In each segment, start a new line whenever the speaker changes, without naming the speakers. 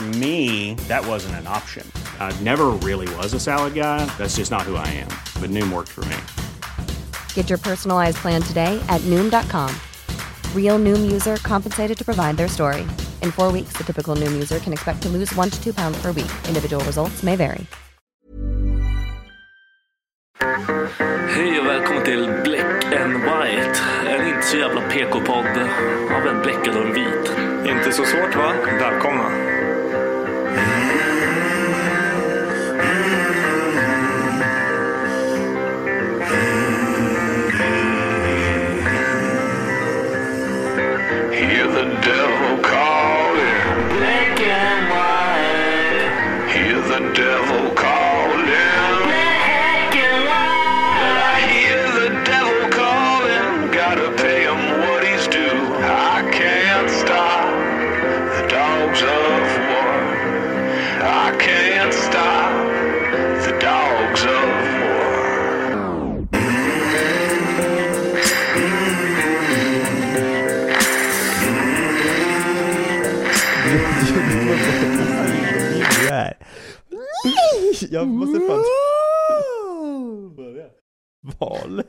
For me, that wasn't an option. I never really was a salad guy. That's just not who I am. But Noom worked for me.
Get your personalized plan today at Noom.com. Real Noom user compensated to provide their story. In four weeks, the typical Noom user can expect to lose one to two pounds per week. Individual results may vary.
Hej och välkommen till Black and White. En inte så jävla PK-podd av en bläckad och en vit.
Mm.
Inte så svårt va? Välkomna.
Hear the devil calling. Black and white. Hear the devil calling. Black and white. I hear the devil calling. Gotta pay him what he's due. I can't stop the dogs of war. I can't stop the dogs of war.
Nej. Jag måste fan... Val.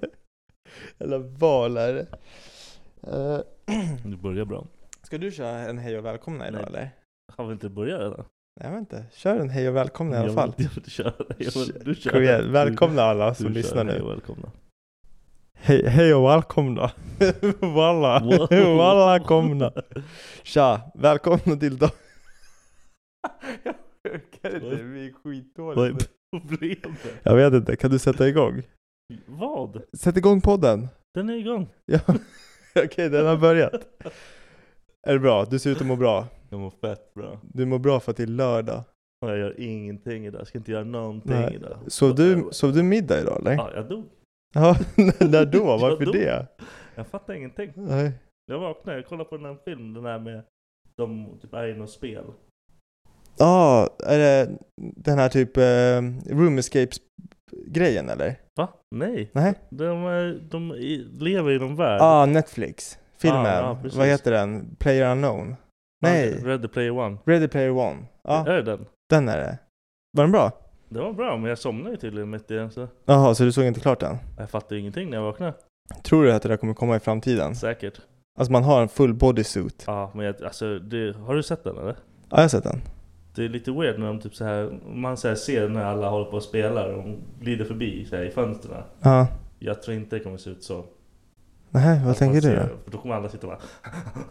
Eller valare. Eh,
Du börjar bra.
ska du köra en hej och välkomna idag
Nej.
eller?
Har vi inte börjat redan?
Nej, jag vet inte. Kör en hej och välkomna i alla fall.
Jag vill, jag vill köra. Jag vill, du kör.
Kom igen, välkomna alla
Du,
som
du
lyssnar
kör. Hej
nu.
och välkomna.
Hej, hej och välkomna. Walla.
Wow.
Walla komna. Tja, välkomna till dag... jag orkar
Oj.
inte, vi är
Vad är
skitdåliga.
problemet?
Jag vet inte, kan du sätta igång?
Vad?
Sätt igång podden.
Den är igång.
Ja. Okej, den har börjat. Är det bra? Du ser ut att må bra.
Jag mår fett bra.
Du mår bra för att det är lördag.
Och Jag gör ingenting idag. Jag ska inte göra någonting
Nej.
idag.
Sov du, sov du middag idag eller?
Ja, jag dog.
Ja, när då? Varför
då.
det?
Jag fattar ingenting.
Nej.
Jag vaknade, jag kollade på den här filmen, den här med de typ är i något spel.
Ja, är det den här typ eh, room escapes-grejen eller?
Va? Nej.
Nej?
De, är- de i- lever i någon värld. Ah,
Ja, ah, Netflix. Filmen.
Ja, ja, precis.
Vad heter den? Player Unknown. Nej,
Ready Player One.
Ready Player One. Ja,
Är det den?
den är det. Var den bra?
Det var bra, men jag somnade ju tydligen mitt i den så
Jaha, så du såg inte klart den?
jag fattade ju ingenting när jag vaknade.
Tror du att det där kommer komma i framtiden?
Säkert.
Alltså man har en full bodysuit.
Ja, men jag, alltså, det, har du sett den eller?
Ja, jag har sett den.
Det är lite weird när de typ så här, man så här ser när alla håller på och spelar och de glider förbi så här, i fönstren.
Ja,
Jag tror inte det kommer se ut så.
nej, vad
Att
tänker du
man ser-
då?
För då kommer alla sitta och bara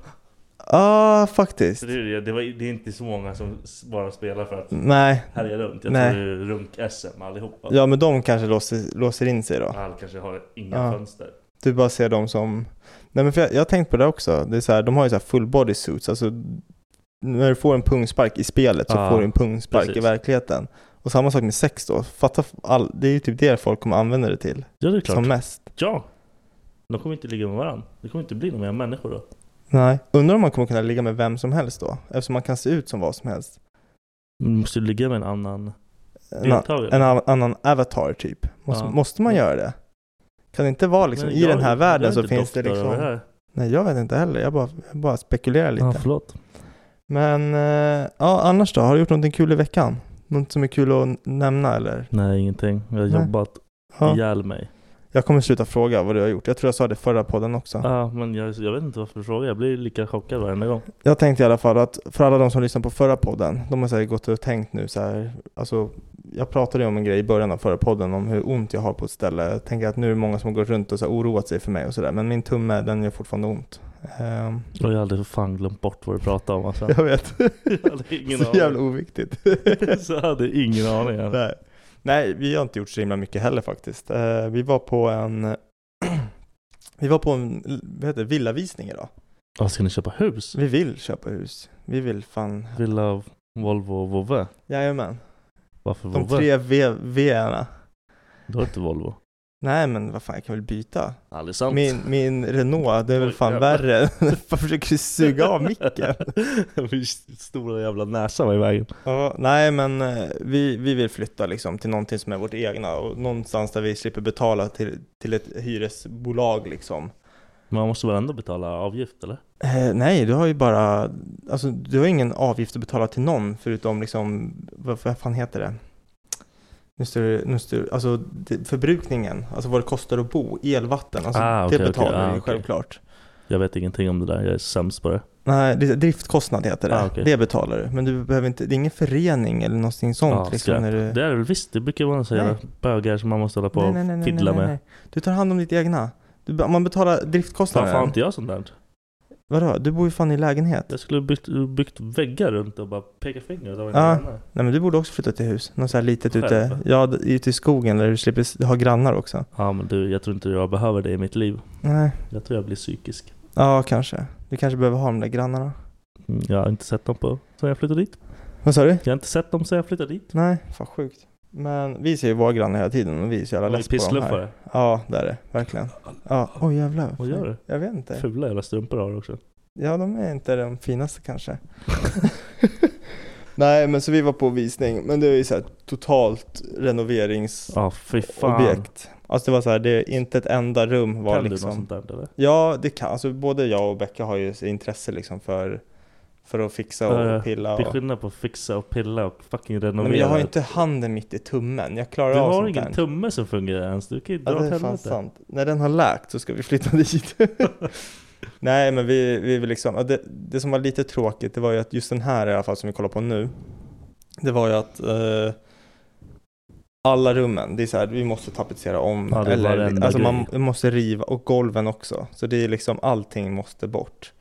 Ja,
Så
Ah, faktiskt.
det, är ju- det, var, det är inte så många som s- bara spelar för att
Nej,
här är runt. Jag
Nej.
tror det är runk-SM allihopa.
ja men de kanske låser, låser in sig då.
Alla kanske har inga
Ja.
fönster.
Du bara ser dem som... Nej men för jag, jag har tänkt på det också. Det är så här, de har ju så här full body suits. Alltså, när du får en pungspark i spelet så
Ja,
får du en pungspark i
precis.
verkligheten. Och samma sak med sex då. Fatta, f- all, det är ju typ det folk kommer använda det till.
Ja, det är klart.
Som mest.
Ja! De kommer inte ligga med varandra. Det kommer inte bli några mer människor då.
Nej. Undrar om man kommer kunna ligga med vem som helst då? Eftersom man kan se ut som vad som helst.
Du Mm, måste ju ligga med en annan
En, an-
deltagare.
en an- annan avatar typ. Måste,
Ja. Mm.
måste man göra det? Kan det inte vara liksom,
Men
i
jag-
den här
jag är
världen så
inte
finns det
doktor
liksom...
över det här.
Nej, jag vet inte heller. Jag bara, jag bara spekulerar lite.
Ja, förlåt.
Men eh, ja, annars då? Har du gjort någonting kul i veckan? Något som är kul att n- nämna eller?
Nej, ingenting. Jag har
Nej.
jobbat
Ja.
ihjäl mig.
Jag kommer sluta fråga vad du har gjort. Jag tror jag sa det i förra podden också.
Ja, men jag, jag vet inte varför du frågar. Jag blir lika chockad varenda gång.
Jag tänkte i alla fall att för alla de som lyssnar på förra podden, de har säkert gått och tänkt nu så här. Alltså, jag pratade ju om en grej i början av förra podden om hur ont jag har på ett ställe. Jag tänker att nu är det många som har gått runt och så här, oroat sig för mig och sådär. Men min tumme, den gör fortfarande ont. Ehm,
Och jag har aldrig för fan glömt bort vad du pratade om alltså.
jag vet.
Jag hade ingen
så
aning.
jävla oviktigt.
Så jag hade ingen aning. alltså.
Nej. Nej, vi har inte gjort så himla mycket heller faktiskt. Eh, vi var på en Vi var på en vad heter, det, villavisning idag.
Ja, ska ni köpa hus?
Vi vill köpa hus. Vi vill fan...
Villa, Volvo och Vovve?
Jajamän.
Varför
De
Vovve?
tre v V-erna.
Du har inte Volvo?
Nej men vad fan, jag kan väl byta?
Aldrig sant.
Min, min Renault, det är väl
Oj,
fan
jävlar.
värre. Varför försöker du suga av micken?
Min stora jävla näsa var i vägen.
Ja, nej men eh, vi, vi vill flytta liksom till någonting som är vårt egna och någonstans där vi slipper betala till, till ett hyresbolag liksom.
Man måste väl ändå betala avgift eller?
Eh, nej, du har ju bara, alltså du har ingen avgift att betala till någon förutom liksom, vad, vad fan heter det? Nu står det, nu står det- alltså det, förbrukningen, alltså vad det kostar att bo, elvatten, alltså
Ah, okej,
det
okej,
betalar
ah,
du ju
okej.
självklart.
Jag vet ingenting om det där, jag är sämst på det.
Nej, det- driftkostnad heter det,
Ah, okej.
det betalar du. Men du behöver inte, det är ingen förening eller någonting sånt
Ja,
liksom
skräp.
när du...
Ah, Det är det väl visst, det brukar vara så jävla bögar som man måste hålla på
Nej,
och
nej, nej, nej,
fiddla
nej, nej,
med.
nej. Du tar hand om ditt egna. Du, be- om man betalar
Varför har
driftkostnaden.
inte jag sånt där?
Vadå? Du bor ju fan i lägenhet.
Jag skulle ha byggt, byggt väggar runt och bara peka finger åt varandra.
Ja, nej men du borde också flytta till hus. Något så här litet
Själv?
ute, ja, d- ute i skogen där du slipper s- ha grannar också.
Ja men du, jag tror inte jag behöver det i mitt liv.
Nej,
Jag tror jag blir psykisk.
ja kanske. Du kanske behöver ha de där grannarna.
Mm, Jag har inte sett dem på sen jag flyttade dit.
Vad sa du?
Jag har inte sett dem sen jag flyttade dit.
Nej, fan sjukt. Men vi ser ju våra grannar hela tiden och vi är så jävla
De är
less på dem här.
pissluffare.
Ja, där är det. Verkligen. Ja, oj jävlar.
Vad gör du?
Jag vet inte.
Fula jävla strumpor har du också.
Ja, de är inte de finaste kanske. Nej, men så vi var på visning. Men det är ju så här totalt renoverings...
Ja fy fan.
objekt. Alltså det var så här, det är inte ett enda rum var
Kan du något
liksom...
sånt där eller?
Ja, det kan. Alltså både jag och Becka har ju intresse liksom för, för att fixa och
Ja, ja.
pilla.
Det är
Och...
skillnad på att fixa och pilla och fucking renovera.
Nej, men jag har ju inte handen mitt i tummen. Jag klarar
du
av
har
sånt
ingen
där.
tumme som fungerar ens. Du kan ju dra
Ja,
åt
det är fan
helvete.
sant. När den har läkt så ska vi flytta dit. Nej, men vi, vi vill liksom, ja, det, det som var lite tråkigt, det var ju att just den här i alla fall som vi kollar på nu, det var ju att eh, alla rummen, det är så här, vi måste tapetsera om.
Ja, det är varenda
alltså man
grej.
måste riva, och golven också. Så det är liksom, allting måste bort.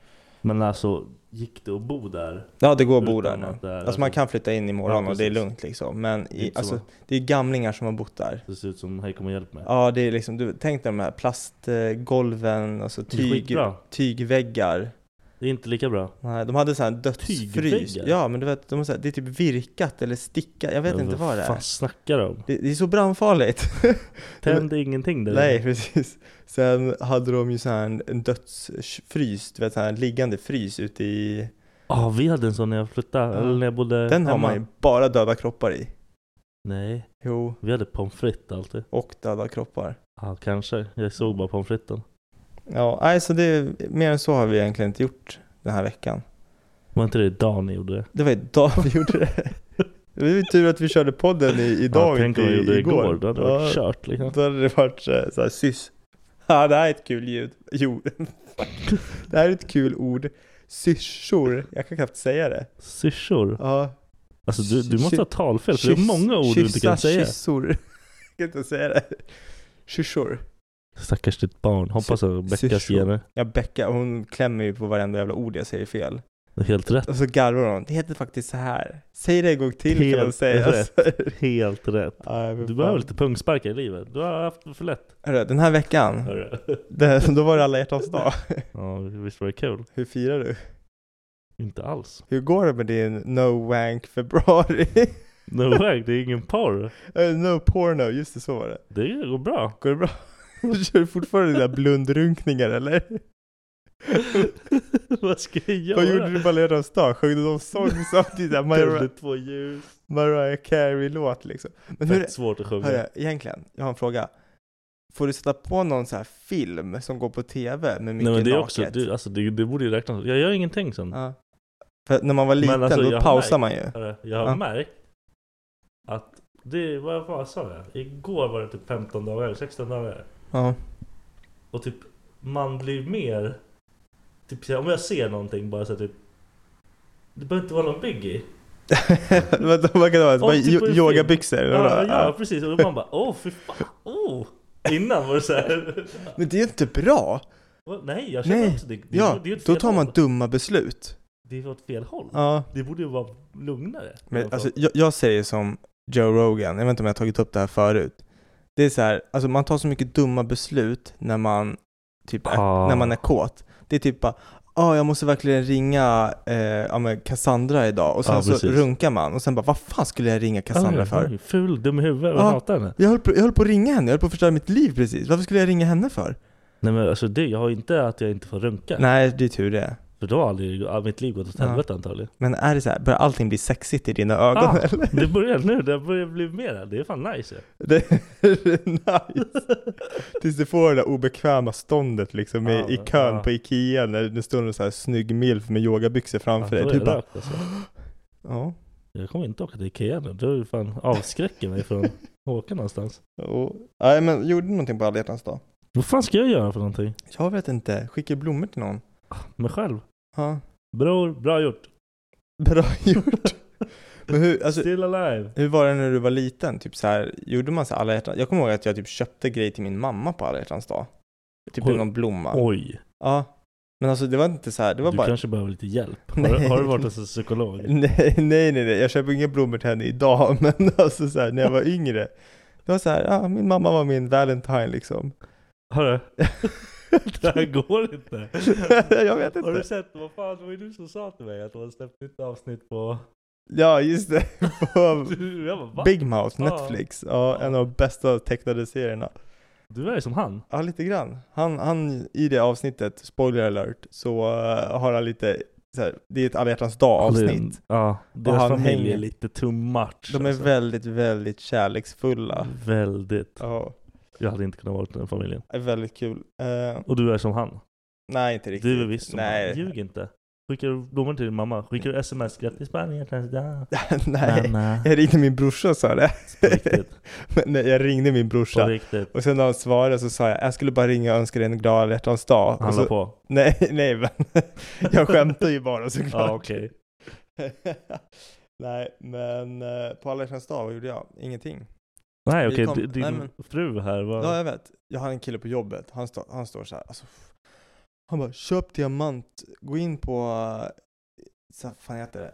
Men alltså, gick det att bo där?
Ja, det går att bo
Utan
där nu.
att det är-
Alltså man kan flytta in imorgon
Ja,
och det är
precis.
lugnt liksom. Men
Det är
i,
inte så.
alltså, det är gamlingar som har bott där.
Det ser ut som Hej kom och hjälp mig.
Ja, det är liksom, du, tänk dig de här plastgolven och så
Det är
tyg,
skitbra.
tygväggar.
Det är inte lika bra.
Nej, de hade så här dödsfrys.
Tygväggar?
Ja, men du vet, de har så här, det är typ virkat eller stickat, jag vet inte vad det är.
fan snackar de om?
Det, det är så brandfarligt.
Tände ingenting där
Nej, precis. Sen hade de ju så här en, en dödsfrys, du vet så här en liggande frys ute i...
Ja, vi hade en sån när jag flyttade.
Ja.
Eller när jag bodde
Den har
hemma.
man ju bara döda kroppar i.
Nej,
Jo,
vi hade pommes frites alltid.
och döda kroppar.
Ja, kanske. Jag såg bara pommes fritesen.
Ja, nej, så det, mer än så har vi egentligen inte gjort den här veckan.
Var inte det idag ni gjorde det?
Det var idag vi gjorde det. Det var ju tur att vi körde podden i, idag,
ja, tänk om
inte
vi
i-
gjorde det igår. Då hade det varit
Ja,
kört liksom.
Då hade det varit eh, så här sys. Ja, det här är ett kul ljud. Jo, det här är ett kul ord. Syrsor. Jag kan knappt säga det.
Syrsor.
Ja.
Alltså du, du måste ha talfel, för det är
Kyss-
många ord du inte
kyssa
kan säga.
Kyssor. Jag kan inte säga det. Syrsor.
Stackars ditt barn. Hoppas att Beckas
syrsor.
gener.
Ja, Becka, hon klämmer ju på varenda jävla ord jag säger fel.
Det är Helt rätt.
Och så garvar hon. Det heter faktiskt så här. Säg det en gång till kan hon
Helt
säga. Alltså.
rätt. Helt rätt.
Ja,
Du behöver lite pungsparkar i livet. Du har haft det för lätt.
Hörru, den här veckan,
Hörru.
det, då var det alla hjärtans dag.
Ja, visst var det kul?
Hur firar du?
Inte alls.
Hur går det med din no wank februari?
No way, det är ingen porr.
Eh, no porno, just det så var det.
Det går bra.
Går det bra? Kör du fortfarande dina blundrunkningar eller?
Vad ska jag göra?
Vad gjorde du på alla hjärtans dag? Sjöng du någon sång samtidigt? där?
Tände två ljus.
Mariah Carey-låt liksom. Men hur,
Fett svårt att sjunga.
hörru, egentligen, jag har en fråga. Får du sätta på någon så här film som går på tv med mycket
Nej men det är
naket?
också, det, alltså, det, det borde ju räknas. Jag gör ingenting sen.
Ja. För när man var liten,
alltså, jag
då
har
pausar man
märkt-
ju.
hörru, Jag har
Ja.
märkt att det, vad fan sa jag? Igår var det typ 15 dagar, eller 16 dagar.
Ja.
Och typ man blir mer Typ så här, om jag ser någonting bara så här, typ Det behöver inte vara någon biggie
Vänta, vad kan det vara?
Om
Bara
typ på
jo-
en
yogabyxor?
film.
eller
Ja,
vad?
ja precis, och då man bara åh fy fan, åh! Innan var det såhär
Men det är ju inte bra!
Nej jag känner
Nej!
också det, det,
Ja,
det är åt
då
fel
tar man
håll.
dumma beslut.
Det är åt fel håll
Ja.
Det borde ju vara lugnare
Men alltså, jag, jag säger som Joe Rogan, jag vet inte om jag har tagit upp det här förut. Det är så här, alltså man tar så mycket dumma beslut när man, typ är,
Ah.
när man är kåt. Det är typ bara, ah, jag måste verkligen ringa eh, ja, men Cassandra idag och sen
Ja,
så
Ah, precis.
runkar man och sen bara, vad fan skulle jag ringa Cassandra för?
Ful, dum i huvudet,
Ja.
jag hatar henne
Jag höll, på, jag höll på att ringa henne, jag höll på att förstöra mitt liv precis. Varför skulle jag ringa henne för?
Nej men alltså det, jag har inte att jag inte får runka
Nej, det är tur det.
För då har aldrig, all mitt liv gått åt
Ja.
helvete antagligen
Men är det så här, börjar allting bli sexigt i dina ögon
Ah,
eller?
det börjar nu, det börjar bli mer, det är fan nice ja.
Det är nice! Tills du får det där obekväma ståndet liksom i, i kön
ja.
på Ikea när det står en så här snygg milf med yogabyxor framför
Ja, då
dig. Du
är det
bara,
rökt, alltså.
ja.
Jag kommer inte åka till Ikea nu, du fan avskräcker mig från att åka någonstans
Och, nej men gjorde du någonting på alla hjärtans dag?
Vad fan ska jag göra för någonting? Ah,
Jag vet inte, skicka blommor till någon.
Mig själv?
Ja.
Bror, bra gjort!
Bra gjort! men hur, alltså,
Still alive!
hur var det när du var liten? Typ så här, gjorde man så här alla hjärtans Jag kommer ihåg att jag typ köpte grejer till min mamma på alla hjärtans dag. Typ
Oj.
någon blomma.
Oj!
Ja. Men alltså det var inte så här, det var
Du
bara
kanske behöver lite hjälp?
Nej.
Har, har du varit hos en psykolog?
Nej, nej, nej, nej. jag köper inga blommor till henne idag, men alltså så här, när jag var yngre. Det var så här, ja, min mamma var min Valentine liksom.
Hörru, det här går inte!
jag vet
Har du
inte.
sett, vad fan, det var ju du som sa till mig att du hade släppt nytt avsnitt på...
Ja, just det. På
Jag bara, va?
Big Mouth,
Ja.
Netflix. Ja, en av de bästa tecknade serierna.
Du är ju som han!
Ja, lite grann. Han, han i det avsnittet, spoiler alert, så eh, har han lite så här, det är ett alla hjärtans dag avsnitt.
Ja,
Och
deras
han
familj
hänger.
är lite too much
De är
alltså.
väldigt, väldigt kärleksfulla.
Väldigt.
Ja,
Jag hade inte kunnat vara den familjen.
det är väldigt kul. Eh,
Och du är som han.
nej, inte riktigt.
Du är visst som
nej.
han. Ljug inte. Skickar du blommor till din mamma? Skickar du sms? Grattis på alla hjärtans dag.
nej.
Mamma.
Jag ringde min brorsa och sa det.
På riktigt.
Men nej, jag ringde min
På
brorsa.
riktigt.
Och sen när han svarade så sa jag, jag skulle bara ringa och önska dig en glad alla hjärtans dag.
Han
Och
la
så,
på.
nej, nej men. jag skämtar ju bara
Ja
såklart.
okej.
nej, men eh, på alla hjärtans dag, vad gjorde jag? Ingenting.
Nej
Vi
okej,
kom-
Di- din
nej, men-
fru här var...
Ja, jag vet. Jag har en kille på jobbet. Han, står han står så här. Alltså, han bara, köp diamant. Gå in på, eh, så här, fan heter det?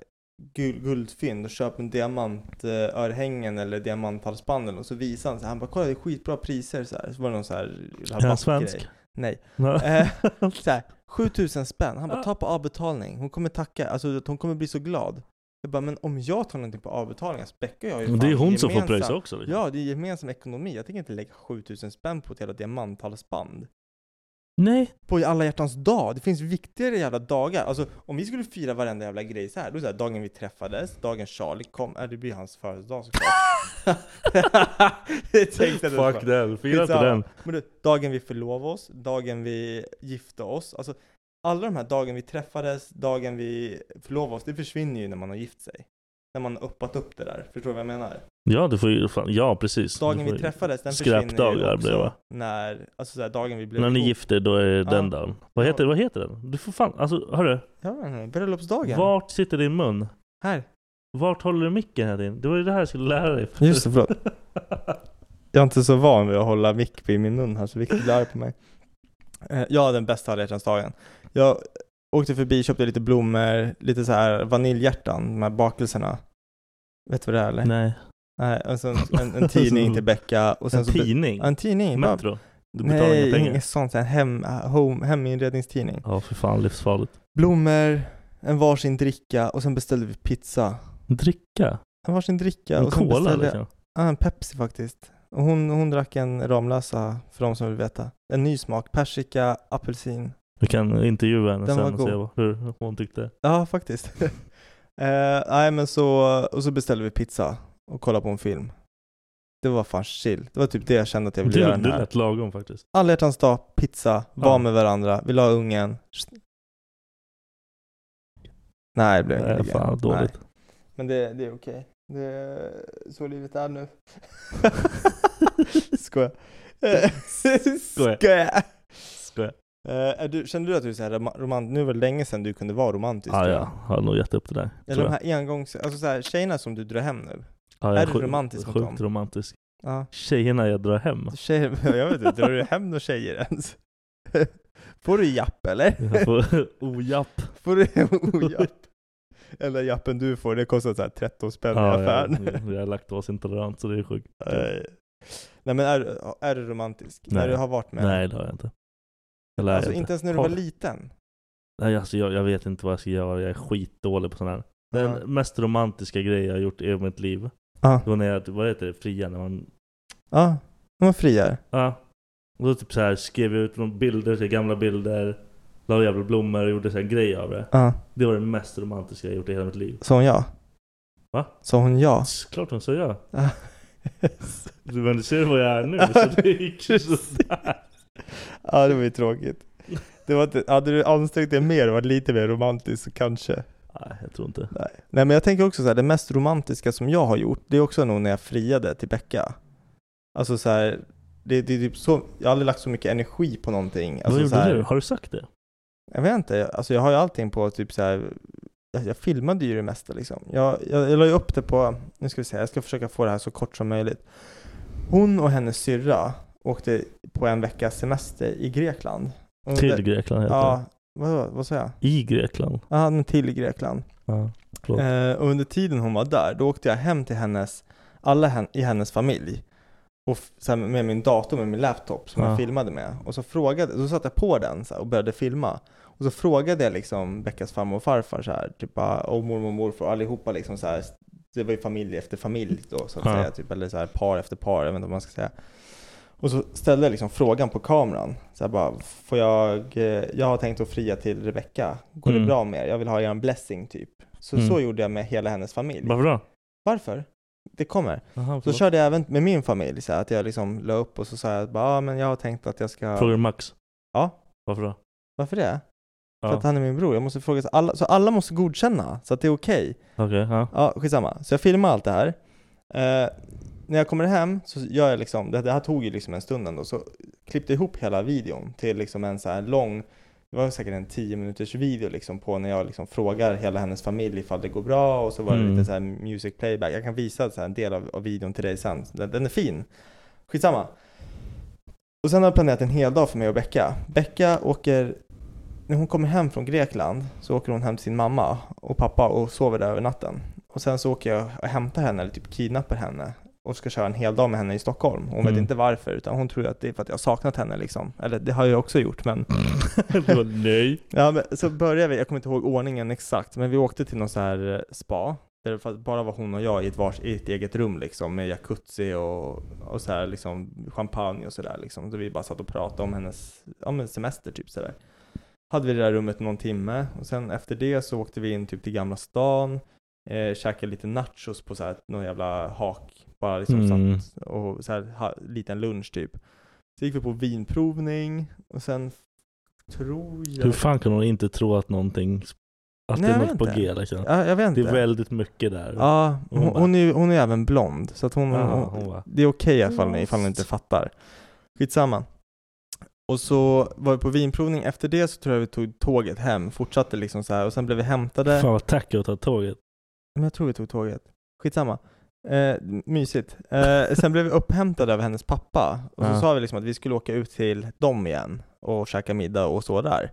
Guld, guldfynd och köp en diamantörhängen eller diamanthalsband eller något. Så visar han så här. Han bara, kolla det är skitbra priser så här. Så var det någon så här
är han
rabattgrej.
svensk?
Nej.
Nej.
Eh, så här, 7000 spänn. Han bara, ta på avbetalning. Hon kommer tacka. Alltså hon kommer bli så glad. Jag bara, men om jag tar någonting på avbetalning, så späckar jag ju
Men det är
fan
hon som får
gemensamt."
pröjsa också. liksom.
Ja, det är gemensam ekonomi. Jag tänker inte lägga 7000 spänn på ett jävla diamanthalsband.
Nej.
På alla hjärtans dag, det finns viktigare jävla dagar. Alltså om vi skulle fira varenda jävla grej så här, då är det så här, dagen vi träffades, dagen Charlie kom, äh, det blir hans födelsedag såklart. det tänkte jag
Fuck
det.
den. Fira inte den.
Men du, dagen vi förlovade oss, dagen vi gifte oss, alltså alla de här dagen vi träffades, dagen vi förlovade oss, det försvinner ju när man har gift sig. När man har uppat upp det där, förstår du vad jag menar?
Ja du får ju fan, ja precis. Du
Dagen
får
vi
ju-
träffades, den försvinner ju
Skräpdagar
också
blir det, va?
när, alltså såhär, dagen vi blev
När ni
ihop.
gifter då är det
Ja.
den dagen. Vad heter, vad heter den? Du får fan, alltså hörru.
Ja, men bröllopsdagen.
Vart sitter din mun?
Här.
Vart håller du micken här din? Det var ju det här jag skulle lära dig.
Just det, förlåt. Jag är inte så van vid att hålla mick i min mun här, så Viktor blir arg på mig. Eh, Ja, den bästa alla hjärtans dagen. Jag åkte förbi, köpte lite blommor, lite så här vaniljhjärtan, de här bakelserna. Vet du vad det är eller?
Nej.
Nej, och sen en, en tidning till Becka och sen
En
så...
tidning?
Ja, en tidning. bara-
Metro? Du betalar inga
Nej,
pengar?
inget sånt. En hem, home, heminredningstidning.
Ja, för fan livsfarligt.
blommor, en varsin dricka och sen beställde vi pizza.
Dricka?
En varsin dricka
en
och sen
cola
beställde
liksom?
jag ah, en Pepsi faktiskt. Och hon, hon drack en Ramlösa för de som vill veta. En ny smak, persika, apelsin
Vi kan intervjua henne
Den
sen
var
och
god.
se vad- hur hon tyckte.
Ja, faktiskt. eh, nej, men så, och så beställde vi pizza och kollade på en film. Det var fan chill. Det var typ det jag kände att jag ville
Det-
göra den
det
här.
lät lagom faktiskt.
Alla hjärtans dag, pizza,
Ja.
vara med varandra, vill ha ungen. Nej, det blev
Nej,
ingen
fan,
Nej.
dåligt.
Men det, det är okej. Det är så livet är nu. Skoja.
Skoja.
Skoja.
Skoja.
Eh, är du, kände du att du är så här rom- romant, nu var det länge sedan du kunde vara romantisk?
Ah,
tror jag.
ja, har nog gett upp det där.
Eller
tror
de
jag.
här engångs, alltså så här, tjejerna som du drar hem nu.
Ja, jag
är du
sjuk-
romantisk mot
Sjukt
dem?
romantisk.
Ja.
Tjejerna jag drar hem.
Tjejer, jag vet inte, drar du hem några tjejer ens? Får du japp eller?
Jag får ojapp.
Får du oh, japp? Eller jappen du får, det kostar så här 13 spänn i
Ja, jag,
affären.
jag är laktosintolerant så det är sjukt.
Nej. Nej men är, är du romantisk? När
Nej.
du har varit med?
Nej det har jag inte. Eller är
Alltså
jag
inte ens när du
Har
var
jag?
liten?
Nej alltså jag, jag vet inte vad jag ska göra, jag är skitdålig på sådana här. Den
Ja.
mest romantiska grej jag har gjort i mitt liv.
Ja.
Det var när jag, vad heter det, fria när man
Ja, de var friar.
Ja. Och då typ så här skrev jag ut några bilder, så här gamla bilder. La jävla blommor och gjorde så här grej av det.
Ja.
Det var det mest romantiska jag gjort i hela mitt liv.
Sa hon ja?
Va?
Sa hon ja?
Klart hon sa ja.
Ja.
Du, Men du ser vad jag är nu, så det gick ju sådär.
Ja, det var ju tråkigt. Det var inte, hade du ansträngt dig mer och varit lite mer romantisk så kanske.
Nej, jag tror inte.
Nej. Nej men jag tänker också så här, det mest romantiska som jag har gjort, det är också nog när jag friade till Becka. Alltså så här, det, det är typ så, jag har aldrig lagt så mycket energi på någonting. Alltså,
vad gjorde
så här,
du? Har du sagt det?
Jag vet inte, alltså jag har ju allting på typ så här. Jag, jag filmade ju det mesta liksom. Jag, jag, jag la ju upp det på, nu ska vi se, jag ska försöka få det här så kort som möjligt. Hon och hennes syrra åkte på en veckas semester i Grekland. Och
Till
det-
Grekland heter
Ja, vad, vad sa jag?
det. I Grekland.
Ja, men till Grekland.
Ja. Förlåt.
Eh, och under tiden hon var där, då åkte jag hem till hennes, alla hen, i hennes familj. Och f- så här, med min dator, med min laptop som
Ja.
jag filmade med. Och så frågade, så satte jag på den så här, och började filma. Och så frågade jag liksom Beckas farmor och farfar så här, typ, ah, och mormor och morfar, allihopa liksom så här. Det var ju familj efter familj då så att
Ja.
säga, typ, eller så här, par efter par, jag vet inte vad man ska säga. Och så ställde jag liksom frågan på kameran. Så här bara, får jag, eh, jag har tänkt att fria till Rebecca. Går det
Mm.
bra med er? Jag vill ha er en blessing typ. Så,
Mm.
så gjorde jag med hela hennes familj.
Varför då?
Varför? Det kommer.
Aha,
Så
förlåt.
körde jag även med min familj, så här, att jag liksom la upp och så sa jag att bara, ah, men jag har tänkt att jag ska...
Frågar du Max?
Ja.
Varför då?
Varför det? För
Ja.
att han är min bror. Jag måste fråga, så alla, så alla måste godkänna, så att det är okej.
Okej, ja.
Ja, skitsamma. Så jag filmar allt det här. Eh, när jag kommer hem så gör jag liksom, det, det här tog ju liksom en stund ändå, så klippte jag ihop hela videon till liksom en så här lång, det var säkert en 10 minuters video liksom på när jag liksom frågar hela hennes familj ifall det går bra och så var det
Mm.
lite så här music playback. Jag kan visa så här en del av, av videon till dig sen. Den, den är fin. Skitsamma. Och sen har jag planerat en hel dag för mig och Becka. Becka åker när hon kommer hem från Grekland så åker hon hem till sin mamma och pappa och sover där över natten. Och sen så åker jag och hämtar henne, eller typ kidnappar henne och ska köra en hel dag med henne i Stockholm. Hon
Mm.
vet inte varför, utan hon tror att det är för att jag har saknat henne liksom. Eller det har jag också gjort, men...
Du bara, nej.
Ja, men så började vi, jag kommer inte ihåg ordningen exakt, men vi åkte till någon så här eh, spa. Där det fa- bara var hon och jag i ett, vars, i ett eget rum liksom, med jacuzzi och, och så här liksom champagne och sådär liksom. Så vi bara satt och pratade om hennes, om en semester typ sådär. Hade vi det där rummet någon timme och sen efter det så åkte vi in typ till Gamla stan, eh, käkade lite nachos på så här någon jävla hak, bara liksom
Mm.
satt och så här ha, liten lunch typ. Så gick vi på vinprovning och sen tror jag...
Hur fan kan hon inte tro att någonting, att det
Nej, jag
är
vet
något på
inte.
G liksom?
Ja, jag vet
Det
inte.
är väldigt mycket där.
Ja,
Och hon
hon,
bara-
hon, är, ju- hon är även blond, så att hon,
Ja,
hon,
hon bara-
det är okej okay ifall, ni- ifall ni inte fattar. Skitsamma. Och så var vi på vinprovning, efter det så tror jag vi tog tåget hem, fortsatte liksom så här och sen blev vi hämtade.
Fan vad tack att ta tåget.
Men jag tror vi tog tåget. Skitsamma. Eh, mysigt. Eh, sen blev vi upphämtade av hennes pappa och så
Ja.
sa vi liksom att vi skulle åka ut till dem igen och käka middag och så där.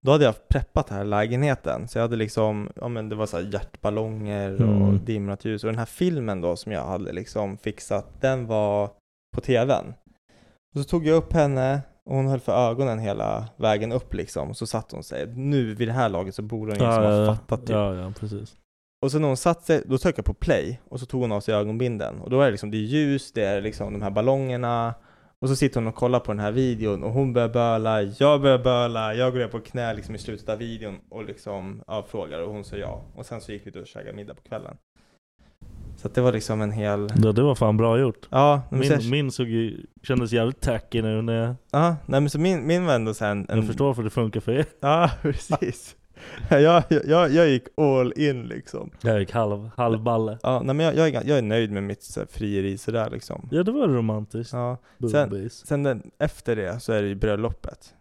Då hade jag preppat den här lägenheten, så jag hade liksom, ja men det var så här hjärtballonger och
Mm.
dimrat ljus och den här filmen då som jag hade liksom fixat, den var på tvn. Och så tog jag upp henne och hon höll för ögonen hela vägen upp liksom, och så satt hon sig. Nu vid det här laget så borde hon ju liksom ha fattat typ
ja, ja, precis.
och sen när hon satt sig, då tryckte jag på play och så tog hon av sig ögonbinden. Och då är det liksom, det är ljus, det är liksom de här ballongerna
Och så sitter hon och kollar på den här videon och hon börjar böla, jag börjar böla, jag går ner på knä liksom i slutet av videon och liksom ja, frågar och hon sa ja. Och sen så gick vi ut och käkade middag på kvällen. Så att det var liksom en hel...
Ja, det var fan bra gjort.
Ja, men
min,
sen-
min såg ju, kändes jävligt tacky nu när jag...
Ja, nej men så min, min var ändå så här en... en...
Jag förstår varför det funkar för er.
Ja, precis. jag, jag, jag gick all in liksom.
Jag gick halv, halvballe.
Ja, nej men jag, jag, är, gan- jag är nöjd med mitt så här, frieri sådär liksom.
Ja, det var romantiskt.
Ja. Sen,
Bubbis.
sen den, efter det så är det ju bröllopet.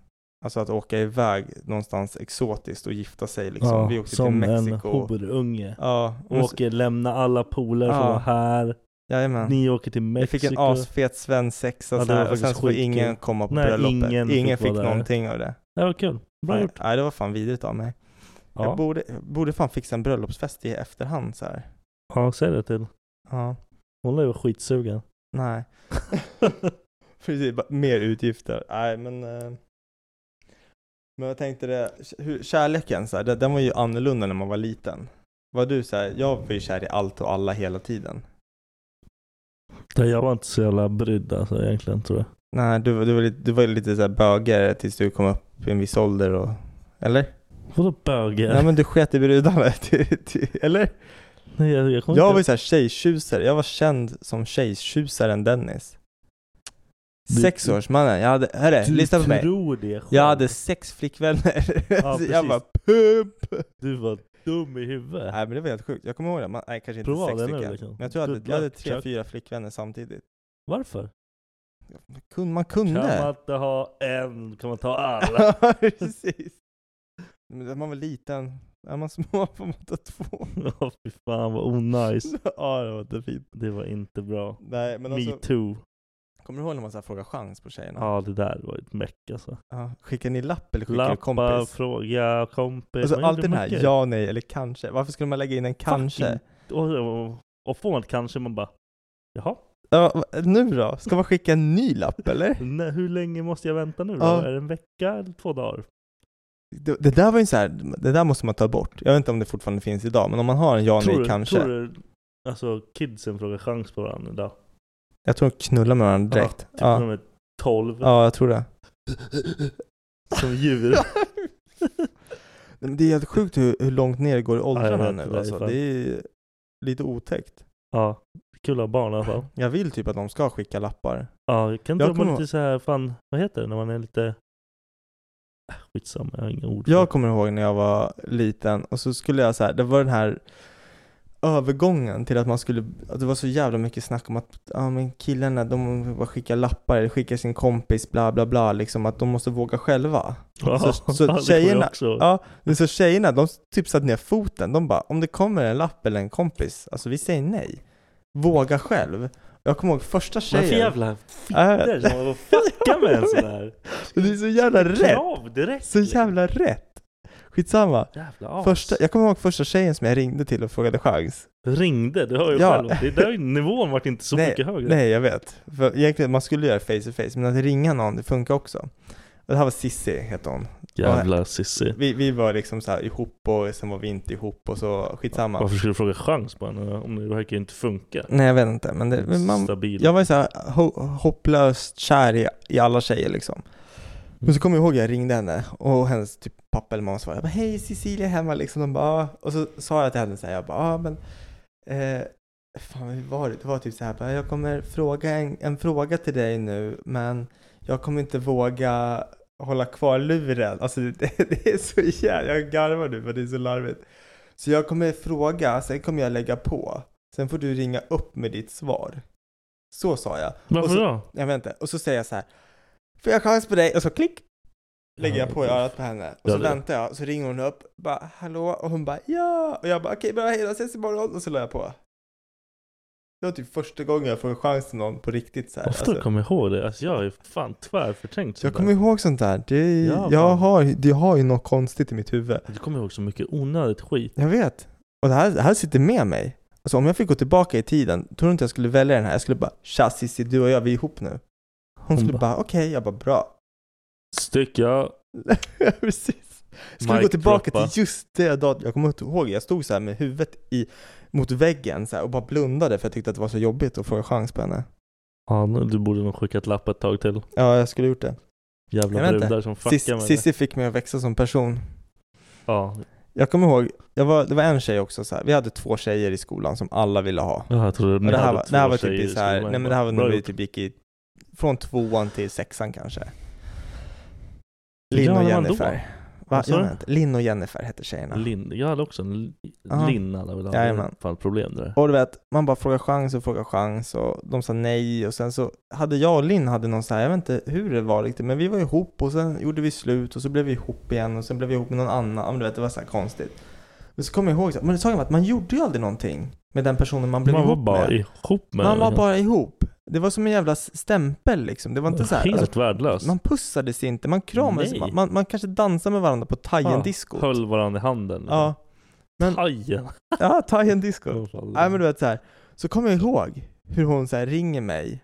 Alltså att åka iväg någonstans exotiskt och gifta sig liksom.
Ja,
Vi åkte till
som en
Mexiko.
horunge.
Ja, men så-
Åker, lämna alla polare som
Ja.
var här.
Jajamän.
Ni åker till Mexiko.
Vi fick en asfet svensexa
Ja,
ja,
det var
där, och
faktiskt
sen så får
skitkul.
ingen komma på
Nej,
bröllopet.
ingen
Ingen,
fick
fick,
vara där.
någonting av det.
Det var kul. Bra
nej,
gjort.
nej, det var fan vidrigt av mig.
Ja.
Jag borde, borde fan fixa en bröllopsfest i efterhand så här.
Ja, säg det till.
Ja,
Hon lär ju vara skitsugen.
nej. Precis, bara mer utgifter. Nej, men... eh, Men jag tänkte det, hur, kärleken så här, den- den var ju annorlunda när man var liten. Var du så här, jag var ju kär i allt och alla hela tiden.
Nej, jag var inte så jävla brydd alltså egentligen tror jag.
Nej, du, var- du var lite, du var ju lite så här bögare tills du kom upp i en viss ålder och... Eller?
Vadå böger?
Nej men du sket i brudarna, till- till- eller?
Nej, jag, jag, kommer
Jag var ju
inte...
såhär tjejtjusare, jag var känd som tjejtjusaren Dennis
Du-
Sexårsmannen, jag hade, hörru,
Du
lyssna på mig
tror det själv.
Jag hade sex flickvänner, så
Ja, precis.
jag bara pump!
Du var dum i huvudet.
Nej men det var helt sjukt, jag kommer ihåg det, Man, nej kanske inte
Prova
sex
det nu,
stycken
liksom.
Men jag tror jag hade,
Good
jag hade
luck,
tre,
Chuck.
fyra flickvänner samtidigt
Varför?
Kun- Man
Kan man
kunde!
inte ha en, kan man ta alla?
Precis! Men när man var liten, är man små får man ta två
Ja, fy fan vad onajs.
Ja det var inte fint
Det var inte bra.
Nej men
Me
alltså,
too.
kommer du ihåg när man så här frågar chans på tjejerna?
Ja, det där var ett meck alltså.
Ja, skickar ni lapp eller skickar ni
Lappa,
kompis?
fråga, kompis.
Alltså
Man gjorde
alltid den här
mycket.
ja, nej eller kanske. Varför skulle man lägga in en kanske?
Och, och, och får man ett kanske man bara Jaha,
Ja, va- nu då? Ska man skicka en ny lapp eller?
nej, hur länge måste jag vänta nu då?
Ja.
Är det en vecka eller två dagar?
Det, det där var ju så här, det där måste man ta bort. Jag vet inte om det fortfarande finns idag, men om man har en ja, nej,
du,
kanske.
tror du alltså kidsen frågar chans på varandra idag?
Jag tror de knullar med varandra direkt.
Ja, typ när
Ja,
de är 12
ja jag tror det.
som djur.
Nej, Men det är helt sjukt hur, hur långt ner det går i åldrarna
vet, det
nu
är
alltså.
fan-
Det är lite otäckt.
ja, kul att ha barn i alla fall.
Jag vill typ att de ska skicka lappar.
Ja, kan inte
Jag
de vara
kommer
lite så här, fan, vad heter det när man är lite Äh, Skitsamma, jag har inga ord för
Jag kommer ihåg när jag var liten och så skulle jag så här, det var den här övergången till att man skulle, att det var så jävla mycket snack om att ja men killarna de bara skickar lappar eller skickar sin kompis bla bla bla liksom att de måste våga själva.
Ja,
så-
det
så
kommer jag
tjejerna-
också.
Ja, men så tjejerna de typ satte ner foten, de bara om det kommer en lapp eller en kompis, alltså vi säger nej. Våga själv. Jag kommer ihåg första
Men
tjejen.
för jävla
Äh.
fittor som håller på och fuckar med en sån här
Det är så jävla rätt!
krav direkt. liksom.
Så jävla rätt! Skitsamma.
Jävla as.
Första, jag kommer ihåg första tjejen som jag ringde till och frågade chans.
Ringde, du hör ju
Ja.
själv. Det där har ju nivån varit inte så mycket högre.
Nej, jag vet. För egentligen, man skulle göra face to face, men att ringa någon, det funkar också. Och det här var Sissi, hette hon.
Jävla Sissi.
Vi, vi var liksom så här ihop och sen var vi inte ihop och så, skitsamma.
Varför skulle du fråga chans på henne om det verkar ju inte funka?
Nej, jag vet inte, men det, men man,
Stabil.
jag var ju så här ho, hopplöst kär i, i alla tjejer liksom. Men så kommer jag ihåg, jag ringde henne och hennes typ pappa eller mamma svarade, jag bara, hej Cecilia är hemma liksom. De bara, "Ah." och så sa jag till henne så här, jag bara, ja men, eh, fan hur var det? Det var typ så här, bara, jag kommer fråga en, en fråga till dig nu, men jag kommer inte våga hålla kvar luren. Alltså det, det är så jävla, jag garvar nu för det är så larvigt. Så jag kommer fråga, sen kommer jag lägga på. Sen får du ringa upp med ditt svar. Så sa jag.
Varför
och så,
då?
jag vet inte. Och så säger jag så här. Får jag chans på dig? Och så klick! Lägger jag på i örat på henne. Och
Ja,
så
det-
väntar jag. Så ringer hon upp. Bara hallå? Och hon bara ja! Och jag bara okej bra hej då, ses imorgon. Och så la jag på. Det var typ första gången jag får en chans till någon på riktigt så här.
Ofta
alltså.
kommer jag ihåg det. Alltså jag är fan tvärförträngt sånt
Jag
där.
kommer ihåg sånt där. Det,
Ja,
jag,
fan.
har, det har ju något konstigt i mitt huvud.
Du kommer ihåg så mycket onödigt skit.
Jag vet. Och det här, det här sitter med mig. Alltså om jag fick gå tillbaka i tiden, tror du inte jag skulle välja den här? Jag skulle bara tja Cissi, du och jag, vi är ihop nu. Hon,
Hon
skulle
bara-
bara okej, jag bara bra.
Stycka.
Precis. Jag skulle
Mic
gå tillbaka
droppa.
till just det datum. Jag kommer inte ihåg, jag stod så här med huvudet i, mot väggen så här, och bara blundade för jag tyckte att det var så jobbigt att få en chans på henne.
Fan, du borde nog skicka ett lapp ett tag till.
Ja, jag skulle gjort det.
Jävla
Jag vet
brudar
inte.
som fuckar
Sis-
med det.
Sissi fick mig att växa som person.
Ja.
Jag kommer ihåg, jag var, det var en tjej också så här. vi hade två tjejer i skolan som alla ville ha.
Ja, jag trodde
Och
ni
det här
hade
var,
två
det här var
tjejer i
typ i så här,
skolan.
nej men det här var
Bra
när vi
gjort.
typ gick i, från tvåan till sexan kanske.
Hur
Linn och
gammal var man då?
Jennifer. Va?
Vad sa
Jag
du?
vet inte. Linn och Jennifer hette tjejerna.
Linn, jag hade också en
Ja.
Linn hade väl
Jajamän.
aldrig fan problem där.
Och du vet, man bara frågar chans och frågar chans och de sa nej och sen så hade jag och Linn hade någon så här, jag vet inte hur det var riktigt, men vi var ihop och sen gjorde vi slut och så blev vi ihop igen och sen blev vi ihop med någon annan, Ja, men du vet det var så här konstigt. Men så kommer jag ihåg, så här, men saken var att man gjorde ju aldrig någonting med den personen man blev
Man var
ihop
bara
med.
ihop med
Man var
den.
bara ihop. Det var som en jävla s- stämpel liksom, det var inte så här,
Helt
alltså,
värdelös.
man pussades inte, man kramades,
Nej.
man, man, man kanske dansade med varandra på
Ja,
Thaien-disco.
Höll varandra i handen. liksom.
Ja. Men,
Thaien.
Ja, Thaien disco.
Åh, fan.
Nej men du vet så här. så kommer jag ihåg hur hon så här ringer mig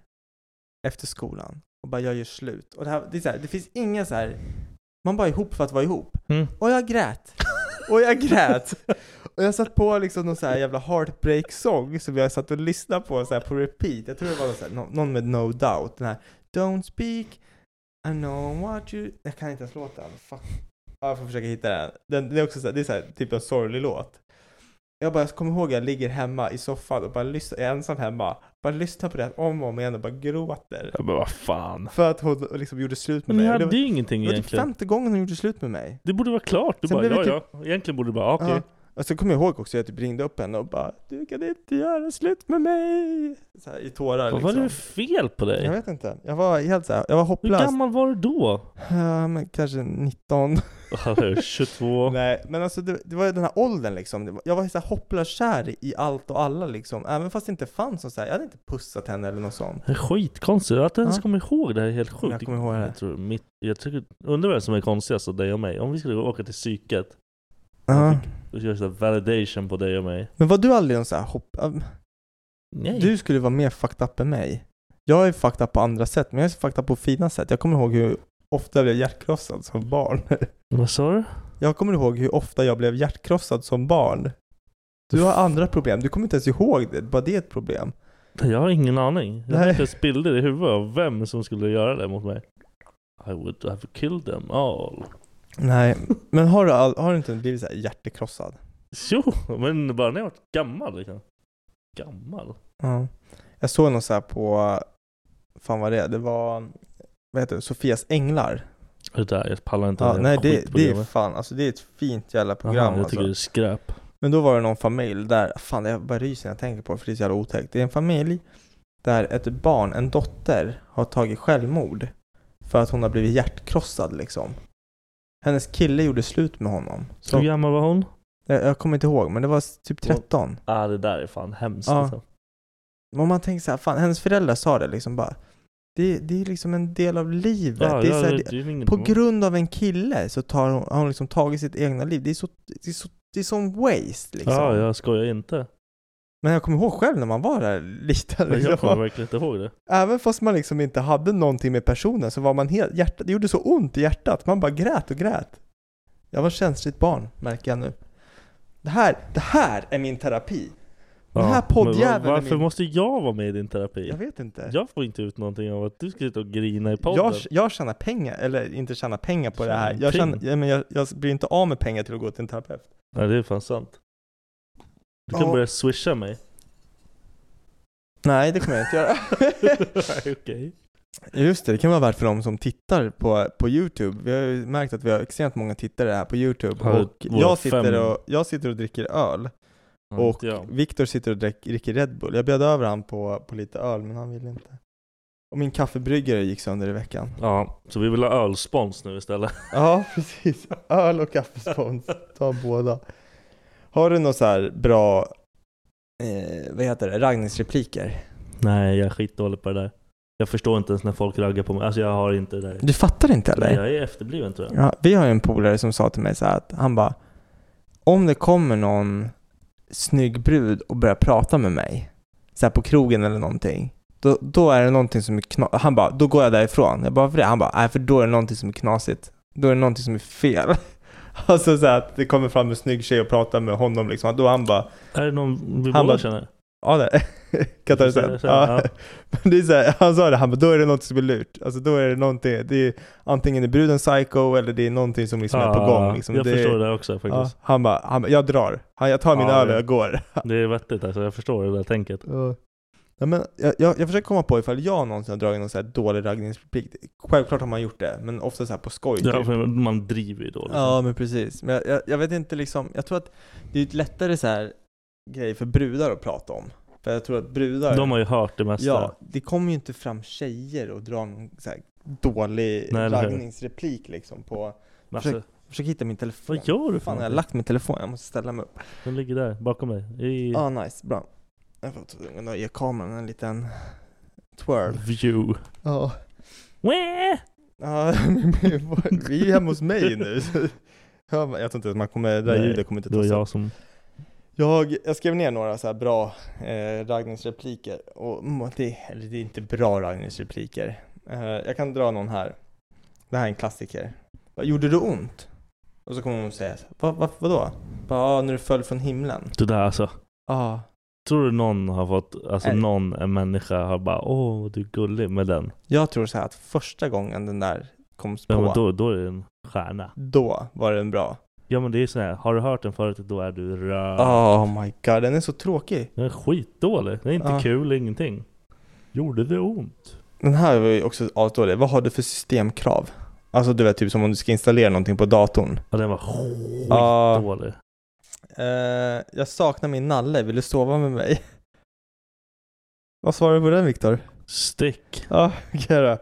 efter skolan och bara jag gör slut. Och det, här, det, är så här, det finns inga så här. man bara är ihop för att vara ihop.
Mm.
Och jag grät. Och jag grät. Och jag satt på liksom någon så här jävla heartbreak-sång som jag satt och lyssnade på så här på repeat. Jag tror det var någon, så här, nå- någon med No Doubt. Den här Don't speak, I know what you... Jag kan inte ens låten. Fuck. Ja, jag får försöka hitta den. den det är också så här, det är så här, typ en sorglig låt. Jag bara, jag kommer ihåg jag ligger hemma i soffan och bara lyssnar, jag är ensam hemma. Bara lyssnar på det här om och om igen och bara gråter.
Ja, Men vad fan.
För att hon liksom gjorde slut med
Men
mig.
ni
Och det
hade
var-
ju ingenting
Det var typ
egentligen.
femte gången hon gjorde slut med mig.
Det borde vara klart. Du
Sen
bara,
blev
ja,
det
ja. Egentligen borde du bara, okej.
Ja. Och så kommer jag ihåg också att jag typ ringde upp henne och bara Du kan inte göra slut med mig! Så här, I tårar
Vad
liksom.
var det för fel på dig?
Jag vet inte. Jag var helt så här, jag var
Hur
hopplös.
gammal var du då?
Ehm, kanske 19.
Ja, 22.
Nej, men alltså det, det var ju den här åldern liksom. Det var- Jag var så här hopplöst kär i allt och alla liksom. Även fast det inte fanns någon så här, jag hade inte pussat henne eller något sånt.
Det är skitkonstigt. Att du ens
Ja.
kommer ihåg det här är helt sjukt.
Jag kommer ihåg det.
Jag, tror mitt, jag tycker, undrar vem som är konstigast av dig och mig. Om vi skulle åka till psyket
Ja.
och göra sådär validation på dig och mig.
Men var du aldrig någon så här hopp... äh,
Nej.
Du skulle vara mer fucked up än mig. Jag är fucked up på andra sätt, men jag är fucked up på fina sätt. Jag kommer ihåg hur ofta jag blev hjärtkrossad som barn.
Vad sa du?
Jag kommer ihåg hur ofta jag blev hjärtkrossad som barn. Du har andra problem, du kommer inte ens ihåg det, bara det är ett problem.
Jag har ingen aning. Jag har
Nej.
inte ens bilder i huvudet av vem som skulle göra det mot mig. I would have killed them all.
Nej, men har du, all, har du inte blivit så här hjärtekrossad?
Jo, men bara när jag var gammal liksom. Gammal?
Ja. Jag såg någon så här på, fan vad det är, det var, vad heter det, Sofias änglar.
Det där, jag pallar inte
Ja,
det
nej
här
det, det är
skitprogrammet.
fan, alltså det är ett fint jävla
Aha,
program
Jag
alltså.
tycker det är skräp.
Men då var det någon familj där, fan jag bara ryser när jag tänker på det för det är så jävla otäckt. Det är en familj där ett barn, en dotter, har tagit självmord. För att hon har blivit hjärtkrossad liksom. Hennes kille gjorde slut med honom.
Hur
Så,
gammal var hon?
jag, jag kommer inte ihåg, men det var s- typ 13.
Ah, det där är fan hemskt
Ja.
alltså.
Men om man tänker så här, fan hennes föräldrar sa det liksom bara. Det, det är liksom en del av livet.
Ja,
det är
ja,
så här,
det-
det,
det är ingen-
på grund av en kille så tar hon, har hon liksom tagit sitt egna liv. Det är så, det är så, det är sån waste liksom.
Ja, jag skojar inte.
Men jag kommer ihåg själv när man var där liten.
Men jag
Liksom.
kommer verkligen inte ihåg det.
Även fast man liksom inte hade någonting med personen så var man helt, hjärtat, det gjorde så ont i hjärtat. Man bara grät och grät. Jag var ett känsligt barn, märker jag nu. Det här, det här är min terapi. Den
Ja,
här
men var-
poddjäveln är
Varför
min...
måste jag vara med i din terapi?
Jag vet inte.
Jag får inte ut någonting av att du ska sitta och grina i podden.
Jag, jag tjänar pengar, eller inte tjänar pengar på det
Tjänar
här. Jag,
pengar.
tjänar, ja, men jag, jag blir inte av med pengar till att gå till en terapeut.
Nej, det är fan sant. Du kan
Ja.
börja swisha mig.
Nej, det kommer jag inte göra.
Nej, Okej.
Just det, det kan vara värt för de som tittar på, på Youtube. Vi har ju märkt att vi har extremt många tittare här på Youtube.
Har
och
våra
jag sitter
fem-
och, jag sitter och dricker öl.
Ja,
och
inte jag.
Viktor sitter och drick, dricker Red Bull. Jag bjöd över han på, på lite öl, men han ville inte. Och min kaffebryggare gick sönder i veckan.
Ja, så vi vill ha ölspons nu istället.
Ja, precis. Öl och kaffespons. Ta båda. Har du några så här bra, eh, vad heter det, raggningsrepliker?
Nej, jag är skitdålig på det där. Jag förstår inte ens när folk raggar på mig. Alltså jag har inte det där.
Du fattar inte eller?
Nej, jag är efterbliven tror jag.
Ja, vi har ju en polare som sa till mig så här att han bara Om det kommer någon snygg brud och börjar prata med mig så här på krogen eller någonting då, då är det någonting som är knasigt. Han bara, då går jag därifrån. Jag bara, varför det? Han bara, nej för då är det någonting som är knasigt. Då är det någonting som är fel. Alltså så här, att det kommer fram en snygg tjej och pratar med honom liksom. Då han bara,
Är det någon vi
Han
båda
bara-
känner? Ja, det Katarsen.
Katarsen,
Ja.
ja.
Men det är så här, han sa det, han bara, då är det något som är lurt. Alltså då är det någonting, det är antingen är bruden psycho eller det är någonting som liksom är på
Ja,
gång. Liksom.
jag
är-
förstår det också faktiskt.
han bara, han bara, jag drar. Han, jag tar min
Ja,
öl och
det-
jag går.
Det är vettigt alltså, jag förstår det där tänket.
Ja, men jag, jag, jag försöker komma på ifall jag någonsin har dragit någon så här dålig raggningsreplik. Självklart har man gjort det, men ofta så här på skoj.
Ja,
typ.
för man driver ju då. liksom.
Ja, men precis. Men jag, jag, jag vet inte liksom, jag tror att det är ett lättare så här grej för brudar att prata om. För jag tror att brudar...
De har ju hört det mesta.
Ja, det kommer ju inte fram tjejer och drar någon så här dålig
Nej, eller hur?
raggningsreplik liksom på...
Men
Försök,
alltså-
försök hitta min telefon.
Vad gör du för
Fan, jag har
någonting?
lagt min telefon. Jag måste ställa mig upp.
Den ligger där bakom mig. I
Ja, Ah, nice. Bra. Jag får tvungen att ge kameran en liten twirl.
view.
Ja.
Wah!
Ja, men vi är ju hemma hos mig nu. så hör man- Jag tror inte att man kommer, det där
Nej,
ljudet kommer inte
det var
tas upp.
jag som...
Jag, jag skrev ner några så här bra eh, raggningsrepliker, och mm, det, eller det är inte bra raggningsrepliker. Eh, jag kan dra någon här. Det här är en klassiker. Vad gjorde du ont? Och så kommer hon säga, så här, va, va, vadå? Bara, "Ja, när du föll från himlen.
Det där alltså.
Ja,
Tror du någon har fått, alltså
Nej.
någon en människa har bara åh du är gullig med den.
jag tror så här att första gången den där kom på,
Ja, men då, då är det en stjärna.
då var den bra.
Ja men det är så här. har du hört den förut då är du röd.
Oh my god, den är så tråkig.
Den är skitdålig. Den är inte
Ja.
kul, ingenting. Gjorde det ont?
Den här var ju också asdålig. Vad har du för systemkrav? Alltså du vet typ som om du ska installera någonting på datorn.
Ja den var
Ja.
skitdålig.
Eh, jag saknar min nalle, vill du sova med mig? Vad svarar du på den Viktor?
Stick.
Ja, okej då.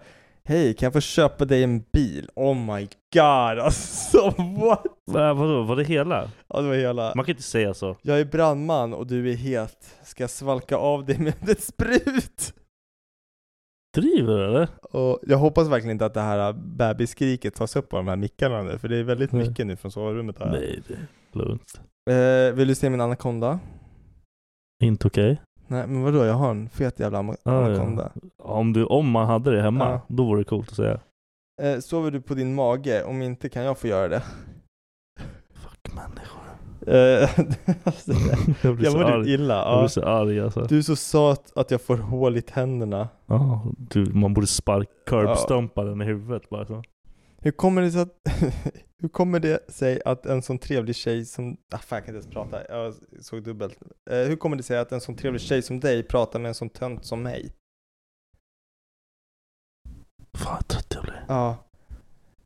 Hej, kan jag få köpa dig en bil? Oh my god, alltså what?
Äh, vadå, var det hela?
Ja, det var hela.
Man kan inte säga så.
Jag är brandman och du är het. Ska jag svalka av dig med ett sprut?
Driver du eller?
Och jag hoppas verkligen inte att det här bebisskriket tas upp av de här mickarna nu, för det är väldigt
Nej.
mycket nu från sovrummet här.
Nej, det är lugnt.
Eh, vill du se min anakonda?
Inte okej.
Nej, men vadå? Jag har en fet jävla ama-
Ja, ja.
anakonda.
Om, du, om man hade det hemma,
Ja.
då vore det coolt att säga.
Eh, sover du på din mage? Om inte kan jag få göra det.
Fuck människor.
Eh, alltså,
Jag blir
jag
så
mår typ
arg.
illa.
Jag blir
Ja.
så arg alltså.
Du är så söt att jag får hål i tänderna.
Ja, du, man borde spark
Ja.
curbstompa den i huvudet bara så.
Hur kommer det sig att Hur kommer det sig att en sån trevlig tjej som... Ah, fan, jag kan inte ens prata. Jag såg dubbelt. Eh, hur kommer det sig att en sån trevlig tjej som dig pratar med en sån tönt som mig?
Fan vad trött jag blir.
Ja.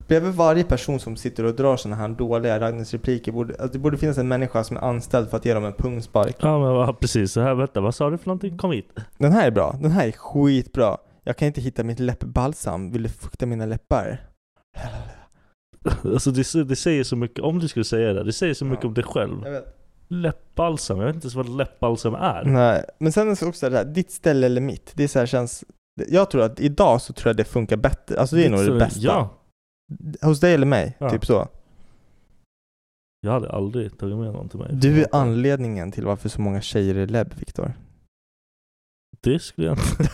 Bredvid varje person som sitter och drar sådana här dåliga raggningsrepliker borde... Alltså, det borde finnas en människa som är anställd för att ge dem en pungspark.
Ja men ja, precis, så här vänta, vad sa du för någonting? Kom hit.
Den här är bra. Den här är skitbra. Jag kan inte hitta mitt läppbalsam. Vill du fukta mina läppar?
Alltså det, s- det säger så mycket, om du skulle säga det, det säger så mycket
Ja.
om dig själv.
Jag vet.
Läppbalsam, jag vet inte ens vad läppbalsam är.
Nej, men sen är det också det här, ditt ställe eller mitt. Det är så här känns... Jag tror att idag så tror jag det funkar bättre. Alltså det är nog
Så-
det bästa.
Ja,
Hos dig eller mig,
Ja.
typ så.
jag hade aldrig tagit med någon till mig.
Du är anledningen till varför så många tjejer är lebb, Viktor.
Det skulle jag inte...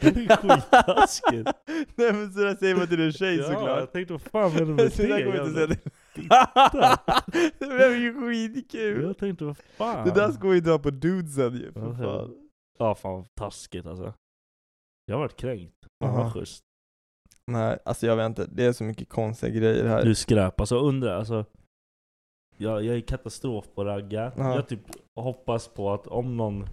Det är skittaskigt.
Nej men sådär säger man till en tjej
ja,
såklart.
jag tänkte vad fan menar du med det?
Sådär går inte att säga
jävla-
till... det blev ju skitkul!
Jag tänkte vad fan.
Det där ska vi dra på dudesen ju, för
Ja,
fan.
Ja fan vad taskigt alltså. Jag har varit kränkt. Fan
Ja.
vad schysst.
Nej, alltså jag vet inte. Det är så mycket konstiga grejer här.
Du skräp. Alltså undra alltså. Jag, jag är katastrof på ragga.
Ja.
Jag typ hoppas på att om någon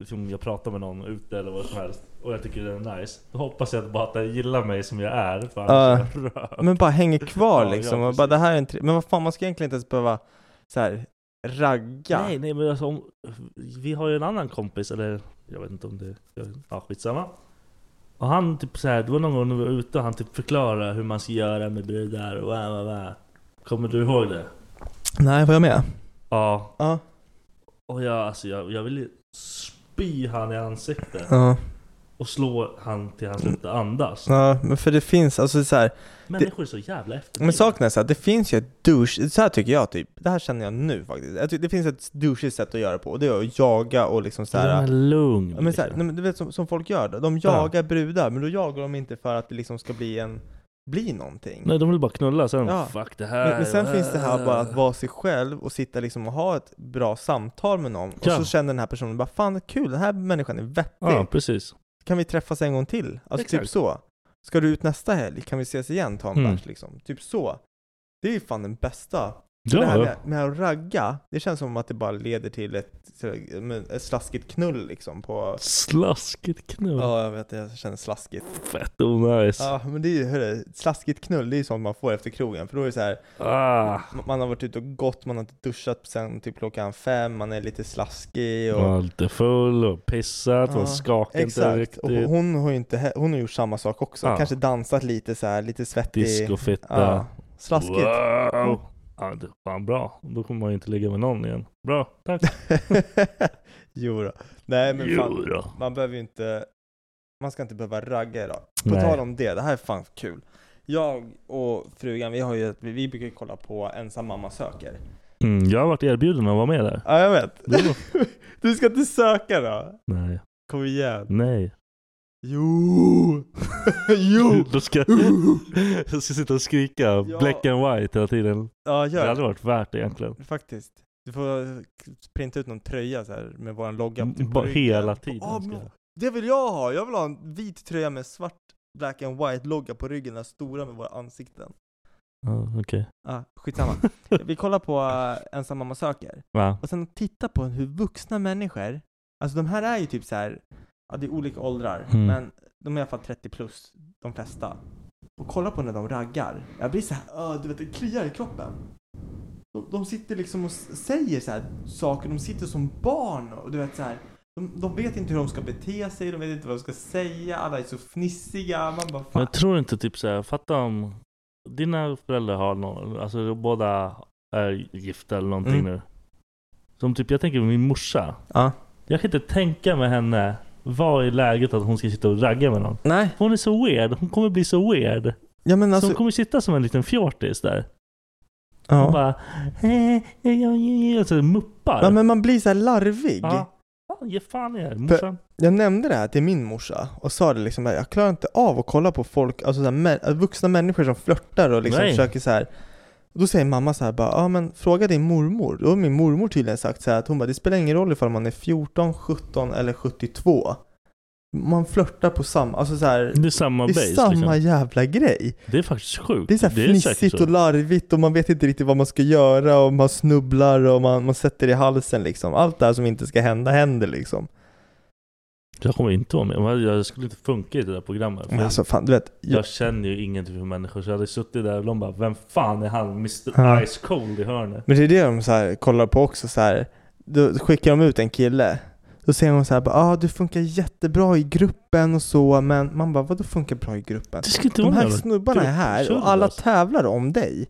liksom jag pratar med någon ute eller vad som helst och jag tycker den är nice. Då hoppas jag bara att den gillar mig som jag är för annars är jag rök.
Men bara hänger kvar
Ja, ja,
liksom. och
precis.
bara, det här är en tre... Men vad fan, man ska egentligen inte ens behöva så här, ragga.
Nej, nej men alltså om, vi har ju en annan kompis, eller jag vet inte om det jag- Ja, skitsamma. Och han typ så här, det var någon gång när vi var ute och han typ förklarade hur man ska göra med brudar och va, va, va. Kommer du ihåg det?
Nej, var jag med?
Ja.
Ja.
Och jag, alltså jag, jag ville spy han i ansiktet.
Ja.
Och slå han till han slutade andas.
Ja, men för det finns, alltså så här.
Människor är så jävla efterblivna.
Men saken är så här, det finns ju ett douche, så här tycker jag typ. Det här känner jag nu faktiskt. Jag tycker, det finns ett douchigt sätt att göra det på och det är att jaga och liksom så här.
Men lugn.
Ja, men så här, nej, men du vet som, som folk gör då. De jagar brudar, men då jagar de inte för att det liksom ska bli en
liksom bli någonting.
Nej, de vill bara knulla, sen fuck det här.
Men, men sen finns det här bara att vara sig själv och sitta liksom och ha ett bra samtal med någon.
Ja.
Och så känner den här personen bara, fan kul, den här människan är vettig.
Ja, precis.
Kan vi träffas en gång till? Alltså
Exakt.
typ så. Ska du ut nästa helg? Kan vi ses igen? Ta en
Mm.
bärs liksom. Typ så. Det är ju fan den bästa.
Ja.
Det här med, med att ragga, det känns som att det bara leder till ett, sådär, men ett slaskigt knull liksom på...
Slaskigt knull.
Ja, jag vet, jag känner slaskigt.
Fett onajs.
Ja, men det är ju, hörru, slaskigt knull, det är ju sånt man får efter krogen, för då är det så här,
Ah.
m- man har varit ute och gått, man har inte duschat sen typ klockan fem, man är lite slaskig och...
Man var lite full och pissat
Ja,
och skakade inte
Exakt,
riktigt.
och hon har ju inte, he- hon har gjort samma sak också,
Ja.
kanske dansat lite så här, lite svettig.
Discofitta.
Ja, Slaskigt.
Wow. Ja, det är fan bra. Då kommer man ju inte ligga med någon igen. Bra, tack.
Jo då. Nej men
Jo
fan,
då.
man behöver ju inte Man ska inte behöva ragga idag På
Nej.
tal om det, det här är fan kul Jag och frugan, vi har ju vi, vi brukar ju kolla på Ensam mamma söker
Mm, jag har varit erbjuden att vara med där.
Ja jag vet
Jo.
Du ska inte söka då!
Nej.
Kom igen
Nej.
Jo! jo!
Då ska jag ska sitta och skrika black and white hela tiden.
Ja,
det
gör
hade
det.
varit värt det egentligen.
Faktiskt Du får eh, printa ut någon tröja så här med våran logga
Mm,
typ på
bara
ryggen.
hela tiden
Ja,
ska
men
jag.
Det vill jag ha! Jag vill ha en vit tröja med svart black and white logga på ryggen, den här stora med våra ansikten
Ja, Okej.
Ja, skitsamma. Vi kollar på eh, Ensam mamma söker.
Va?
Och sen titta på hur vuxna människor, alltså de här är ju typ så här, ja det är olika åldrar,
Mm.
men de är i alla fall 30 plus, de flesta. Och kolla på när de raggar. Jag blir så här, "Åh, du vet det kliar i kroppen. De, de sitter liksom och s- säger så här saker, de sitter som barn och du vet så här. De, de vet inte hur de ska bete sig, de vet inte vad de ska säga, alla är så fnissiga. Man bara,
Men
fan.
jag tror inte typ såhär, fatta om dina föräldrar har någon, alltså båda är gifta eller någonting
Mm.
nu. Som typ, jag tänker på min morsa.
Ja.
Jag kan inte tänka med henne vad är läget att hon ska sitta och ragga med någon.
Nej.
Hon är så weird, hon kommer bli så weird.
Ja, men
Så
alltså-
hon kommer sitta som en liten fjortis där.
Ja.
Hon bara... "Eh, eh, ja, ja, ja", Så muppar.
Ja, men man blir så här larvig.
Ja. Ja, Ge fan i er,
För
morsan.
jag nämnde det här till min morsa och sa det liksom att jag klarar inte av att kolla på folk, alltså så här, mä- vuxna människor som flörtar och liksom
Nej.
försöker så här. Då säger mamma så här bara, ja men fråga din mormor. Då har min mormor tydligen sagt så här att hon bara, det spelar ingen roll ifall man är 14, 17 eller 72. Man flörtar på samma, alltså så här,
Det är samma
det
base
är samma
liksom.
jävla grej.
Det är faktiskt sjukt.
Det är så här
säkert
fnissigt
så.
och larvigt och man vet inte riktigt vad man ska göra och man snubblar och man, man sätter i halsen liksom. Allt det här som inte ska hända händer liksom.
Jag kommer inte vara med. Men Jag skulle inte funka i det där programmet. För
Men alltså fan, du vet.
jag, känner ju ingenting för människor. Så jag hade suttit där och de bara Vem fan är han? Mr
Ja.
Ice Cold i hörnet.
Men det är det de så här kollar på också så här. Då skickar de ut en kille. Då säger hon så här, bara, ah, du funkar jättebra i gruppen och så, men man bara, vadå funkar bra i gruppen?
Det ska
de
inte vara
här
någon jävla
snubbarna är här
gruppkörd,
och alla
alltså.
tävlar om dig.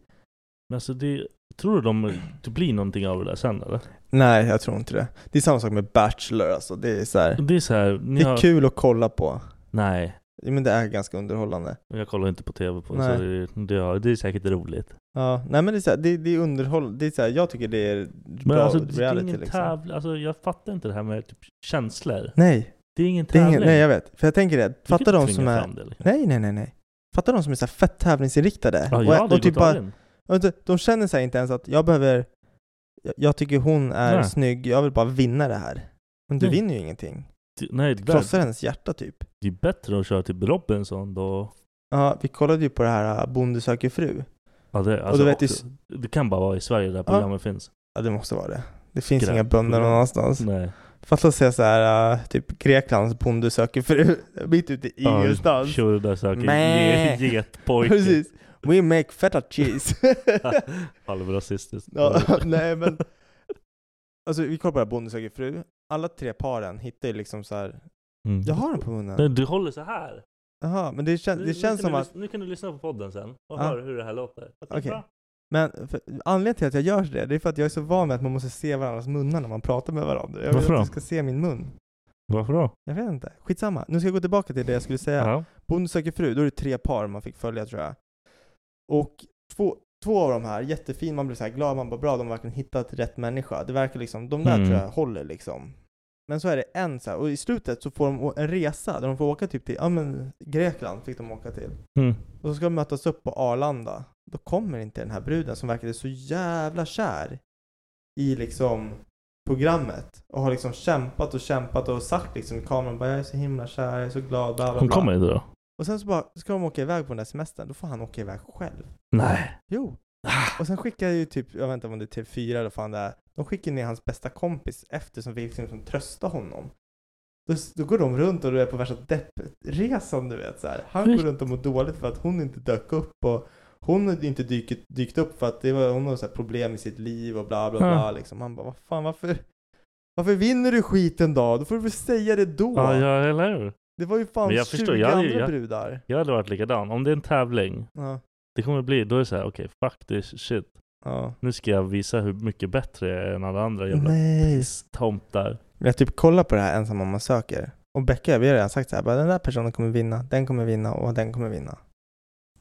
Men alltså det... Tror du de, det blir någonting av det där sen eller?
Nej, jag tror inte det. Det är samma sak med Bachelor alltså. Det är så här,
Det är så här, ni
det är
har-
kul att kolla på.
Nej.
Men det är ganska underhållande.
Jag kollar inte på TV på
Nej.
så det, det, det är säkert roligt.
Ja, nej men det är, så här, det, det är underhåll. Det är så här, jag tycker det är bra
Men alltså, det är
reality
ingen
liksom.
tävling. Alltså, jag fattar inte det här med typ, känslor.
Nej.
Det är ingen
Det är
tävling.
ingen, nej jag vet, för jag tänker det,
kan
fatta
inte
de
tvinga
som är...
fram det, liksom.
Nej nej nej nej. Fatta de som är så här fett tävlingsinriktade. typ
Ja, jag hade ju gått all in.
och inte- De känner sig inte ens att jag behöver, jag- jag tycker hon är
Nej.
snygg, jag vill bara vinna det här. Men du
Nej.
vinner ju ingenting.
Mm. Det- Nej, det,
Du krossar
där,
hennes hjärta typ.
det är bättre att köra till Robinson då.
Ja, vi kollade ju på det här äh, Bonde söker fru.
Ja, det,
Och
alltså,
du vet, det är
också, det kan bara vara i Sverige där programmet finns.
Ja, det måste vara det. Det finns
Grabbar.
inga bönder någon annanstans.
Nej.
Fatta att säga så här, äh, typ Greklands bonde söker fru, mitt ute i
Ja,
ingenstans.
Kör det där söker
Mä.
ge- getpojke.
Precis. We make feta cheese.
Halvrasistiskt.
Ja, nej men Alltså vi kollar på det här Bonde söker fru Alla tre paren hittar ju liksom så här.
Mm.
Jag har den på
Nej,
munnen
du håller så här.
Jaha, men det, kän,
Nu-
det
nu kan
känns
du
som
lys-
att
Nu kan du lyssna på podden sen och
Ja.
höra hur det här låter. Jag tycker
Okej.
bra.
Men för, anledningen till att jag gör det, det är för att jag är så van med att man måste se varandras munnar när man pratar med varandra Jag vill
Varför
att
då?
du ska se min mun
Varför då?
Jag vet inte, skitsamma Nu ska jag gå tillbaka till det jag skulle säga
Ja.
Bonde söker fru, då är det tre par man fick följa tror jag Och två, två av de här, jättefin, man blir så här glad, man bara bra, de har verkligen hittat rätt människa Det verkar liksom, de där
Mm.
tror jag håller liksom
Men så är det en så här, och i slutet så får de å- en resa där de får åka typ till, ja men Grekland fick de åka till.
Mm.
Och så ska de mötas upp på Arlanda. Då kommer inte den här bruden som verkade så jävla kär i liksom programmet och har liksom kämpat och kämpat och sagt liksom i kameran bara jag är så himla kär, jag är så glad, bla bla
Hon
bla.
kommer inte då?
Och sen så bara, ska de åka iväg på den där semestern, då får han åka iväg själv.
Nej.
Jo. Och sen skickar ju typ, jag vet inte om det är TV4 eller vad fan det är, de skickar ner hans bästa kompis efter som fick liksom trösta honom. Då, då går de runt och du är på värsta deppresan du vet så här. Han går runt och mår dåligt för att hon inte dök upp och hon har inte dykt, dykt upp för att det var, hon har så här problem i sitt liv och bla bla
Ja.
bla liksom. Han bara, vad fan varför, varför vinner du skiten då? Då får du väl säga det då.
Ja, ja eller hur?
Det var ju fan
Men jag
20
förstår, jag hade ju-
andra
jag-
brudar.
Jag hade varit likadan. Om det är en tävling,
Ja.
det kommer bli, då är det så här, okej, fuck this shit.
Ja.
Nu ska jag visa hur mycket bättre jag är än alla andra jävla
Nej.
tomtar.
Men jag typ kollar på det här ensam mamma söker. Och Becka, vi har redan sagt så här, bara, den där personen kommer vinna, den kommer vinna och den kommer vinna.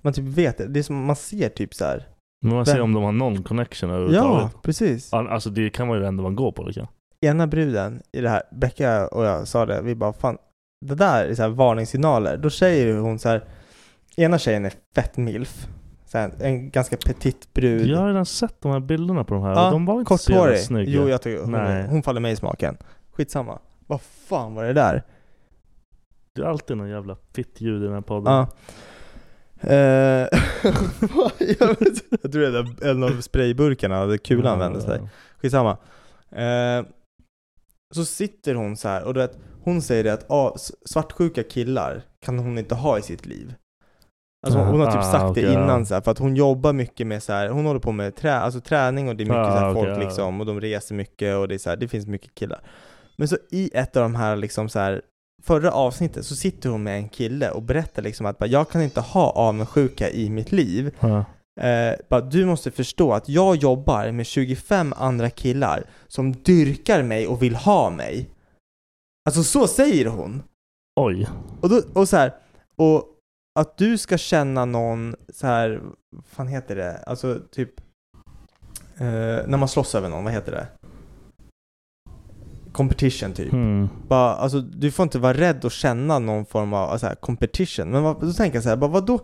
Man typ vet det. Det är som man ser typ så här.
Men man
Vem-
ser om de har någon connection
Ja,
överhuvudtaget.
precis.
Ja. Alltså det kan vara ju det enda man går på liksom.
Ena bruden i det här, Becka och jag sa det, vi bara fan, det där är så här varningssignaler. Då säger ju hon så här, ena tjejen är fett milf. Så här, en ganska petit brud.
Jag har redan sett de här bilderna på de här
Ja,
och de var inte så jävla
Korthårig.
snygga.
Jo, jag tycker hon,
Nej,
hon faller mig i smaken. Skitsamma. Vad fan var det där?
det är alltid någon jävla fitt ljud i den här podden.
Ja. Eh, jag, vet, jag tror det där- en av sprayburkarna, där
Ah,
kulan vände sig. Skitsamma. Eh, så sitter hon så här och du vet, hon säger det att ah, s- svartsjuka killar kan hon inte ha i sitt liv. Alltså hon, hon har typ
Ah,
sagt det
okej, ja.
innan så här, för att hon jobbar mycket med så här, hon håller på med trä, alltså träning och det är mycket
Ah,
så här,
okej,
folk
ja.
liksom och de reser mycket och det är så här, det finns mycket killar. Men så i ett av de här liksom så här förra avsnittet så sitter hon med en kille och berättar liksom att bara, jag kan inte ha avundsjuka i mitt liv.
Ja.
Eh, bara, du måste förstå att jag jobbar med 25 andra killar som dyrkar mig och vill ha mig. Alltså så säger hon.
Oj.
Och, då, och så här, och att du ska känna någon så här, vad fan heter det? Alltså typ, eh, när man slåss över någon, vad heter det? Competition typ.
Mm.
Bara, alltså, du får inte vara rädd och känna någon form av så här, competition. Men vad, då tänker jag så här, bara, vadå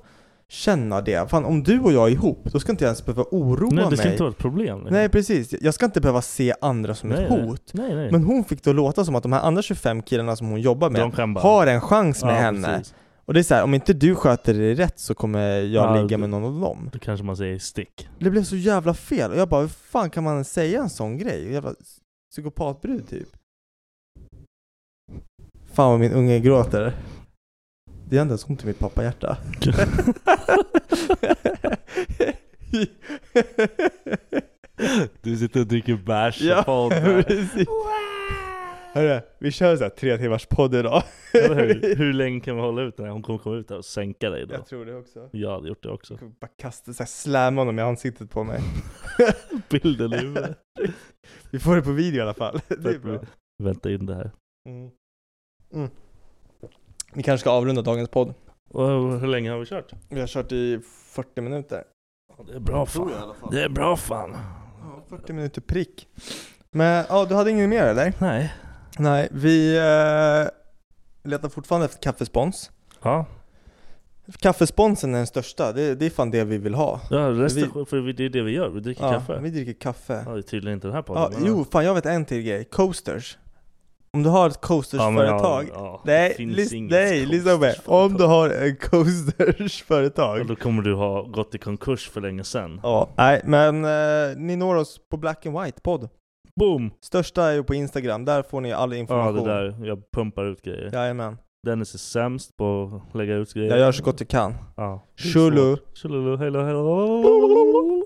känna det? Fan, om du och jag är ihop, då ska inte jag ens behöva oroa
Nej, det ska
mig.
inte vara ett problem. liksom.
Nej, precis. Jag ska inte behöva se andra som ett
Nej,
hot.
Nej, nej.
Men hon fick då låta som att de här andra 25 killarna som hon jobbar
De
med
kan bara-
har en chans med
Ja,
henne.
precis.
Och det är så här, om inte du sköter dig rätt så kommer jag
Ja,
ligga
du-
med någon av dem.
Då kanske man säger stick.
Det blev så jävla fel och jag bara, hur fan kan man säga en sån grej? Jävla psykopatbrud typ. Fan vad min unge gråter. Det är inte ens ont i mitt pappahjärta.
Du sitter och dricker bärs i
Ja,
podden.
precis. Hörru, vi kör så här tre timmars podd idag.
Eller hur? Hur länge kan vi hålla ut den här? Hon kommer komma ut här och sänka dig då.
Jag tror det också.
Jag hade gjort det också.
Jag kommer bara kasta, så här, slamma honom i ansiktet på mig.
Bilden i huvudet.
Vi får det på video i alla fall. Det är bra.
Vänta in det här.
Mm. Mm. Vi kanske ska avrunda dagens podd.
Och hur länge har vi kört?
Vi har kört i 40 minuter.
Det är bra fan. Det är bra fan.
Ja, 40 minuter prick. Men ja, du hade ingen mer eller?
Nej.
Nej, vi eh, letar fortfarande efter kaffespons.
Ja.
Kaffesponsen är den största, det, det är fan det vi vill ha.
ja resten, för vi- det är det vi gör. Vi dricker
Ja,
kaffe.
vi dricker kaffe.
Ja, det är tydligen inte den här
Ja,
podden. men-
jo, fan jag vet en till grej. Coasters. Om du har ett
Ja, men ja,
coastersföretag.
ja, det
nej,
finns
lys-
inget
nej lyssna på mig. Om du har ett
Och
coastersföretag.
då kommer du ha gått i konkurs för länge sedan.
Ja, nej men eh, ni når oss på Black and White podd.
Boom!
Största är ju på Instagram, där får ni all
Ja,
information.
det där. Jag pumpar ut grejer.
Jajamän.
Dennis är sämst på att lägga ut grejer.
Jag gör så gott jag kan.
Ja.
Shulu.
Shulu, hello, hello.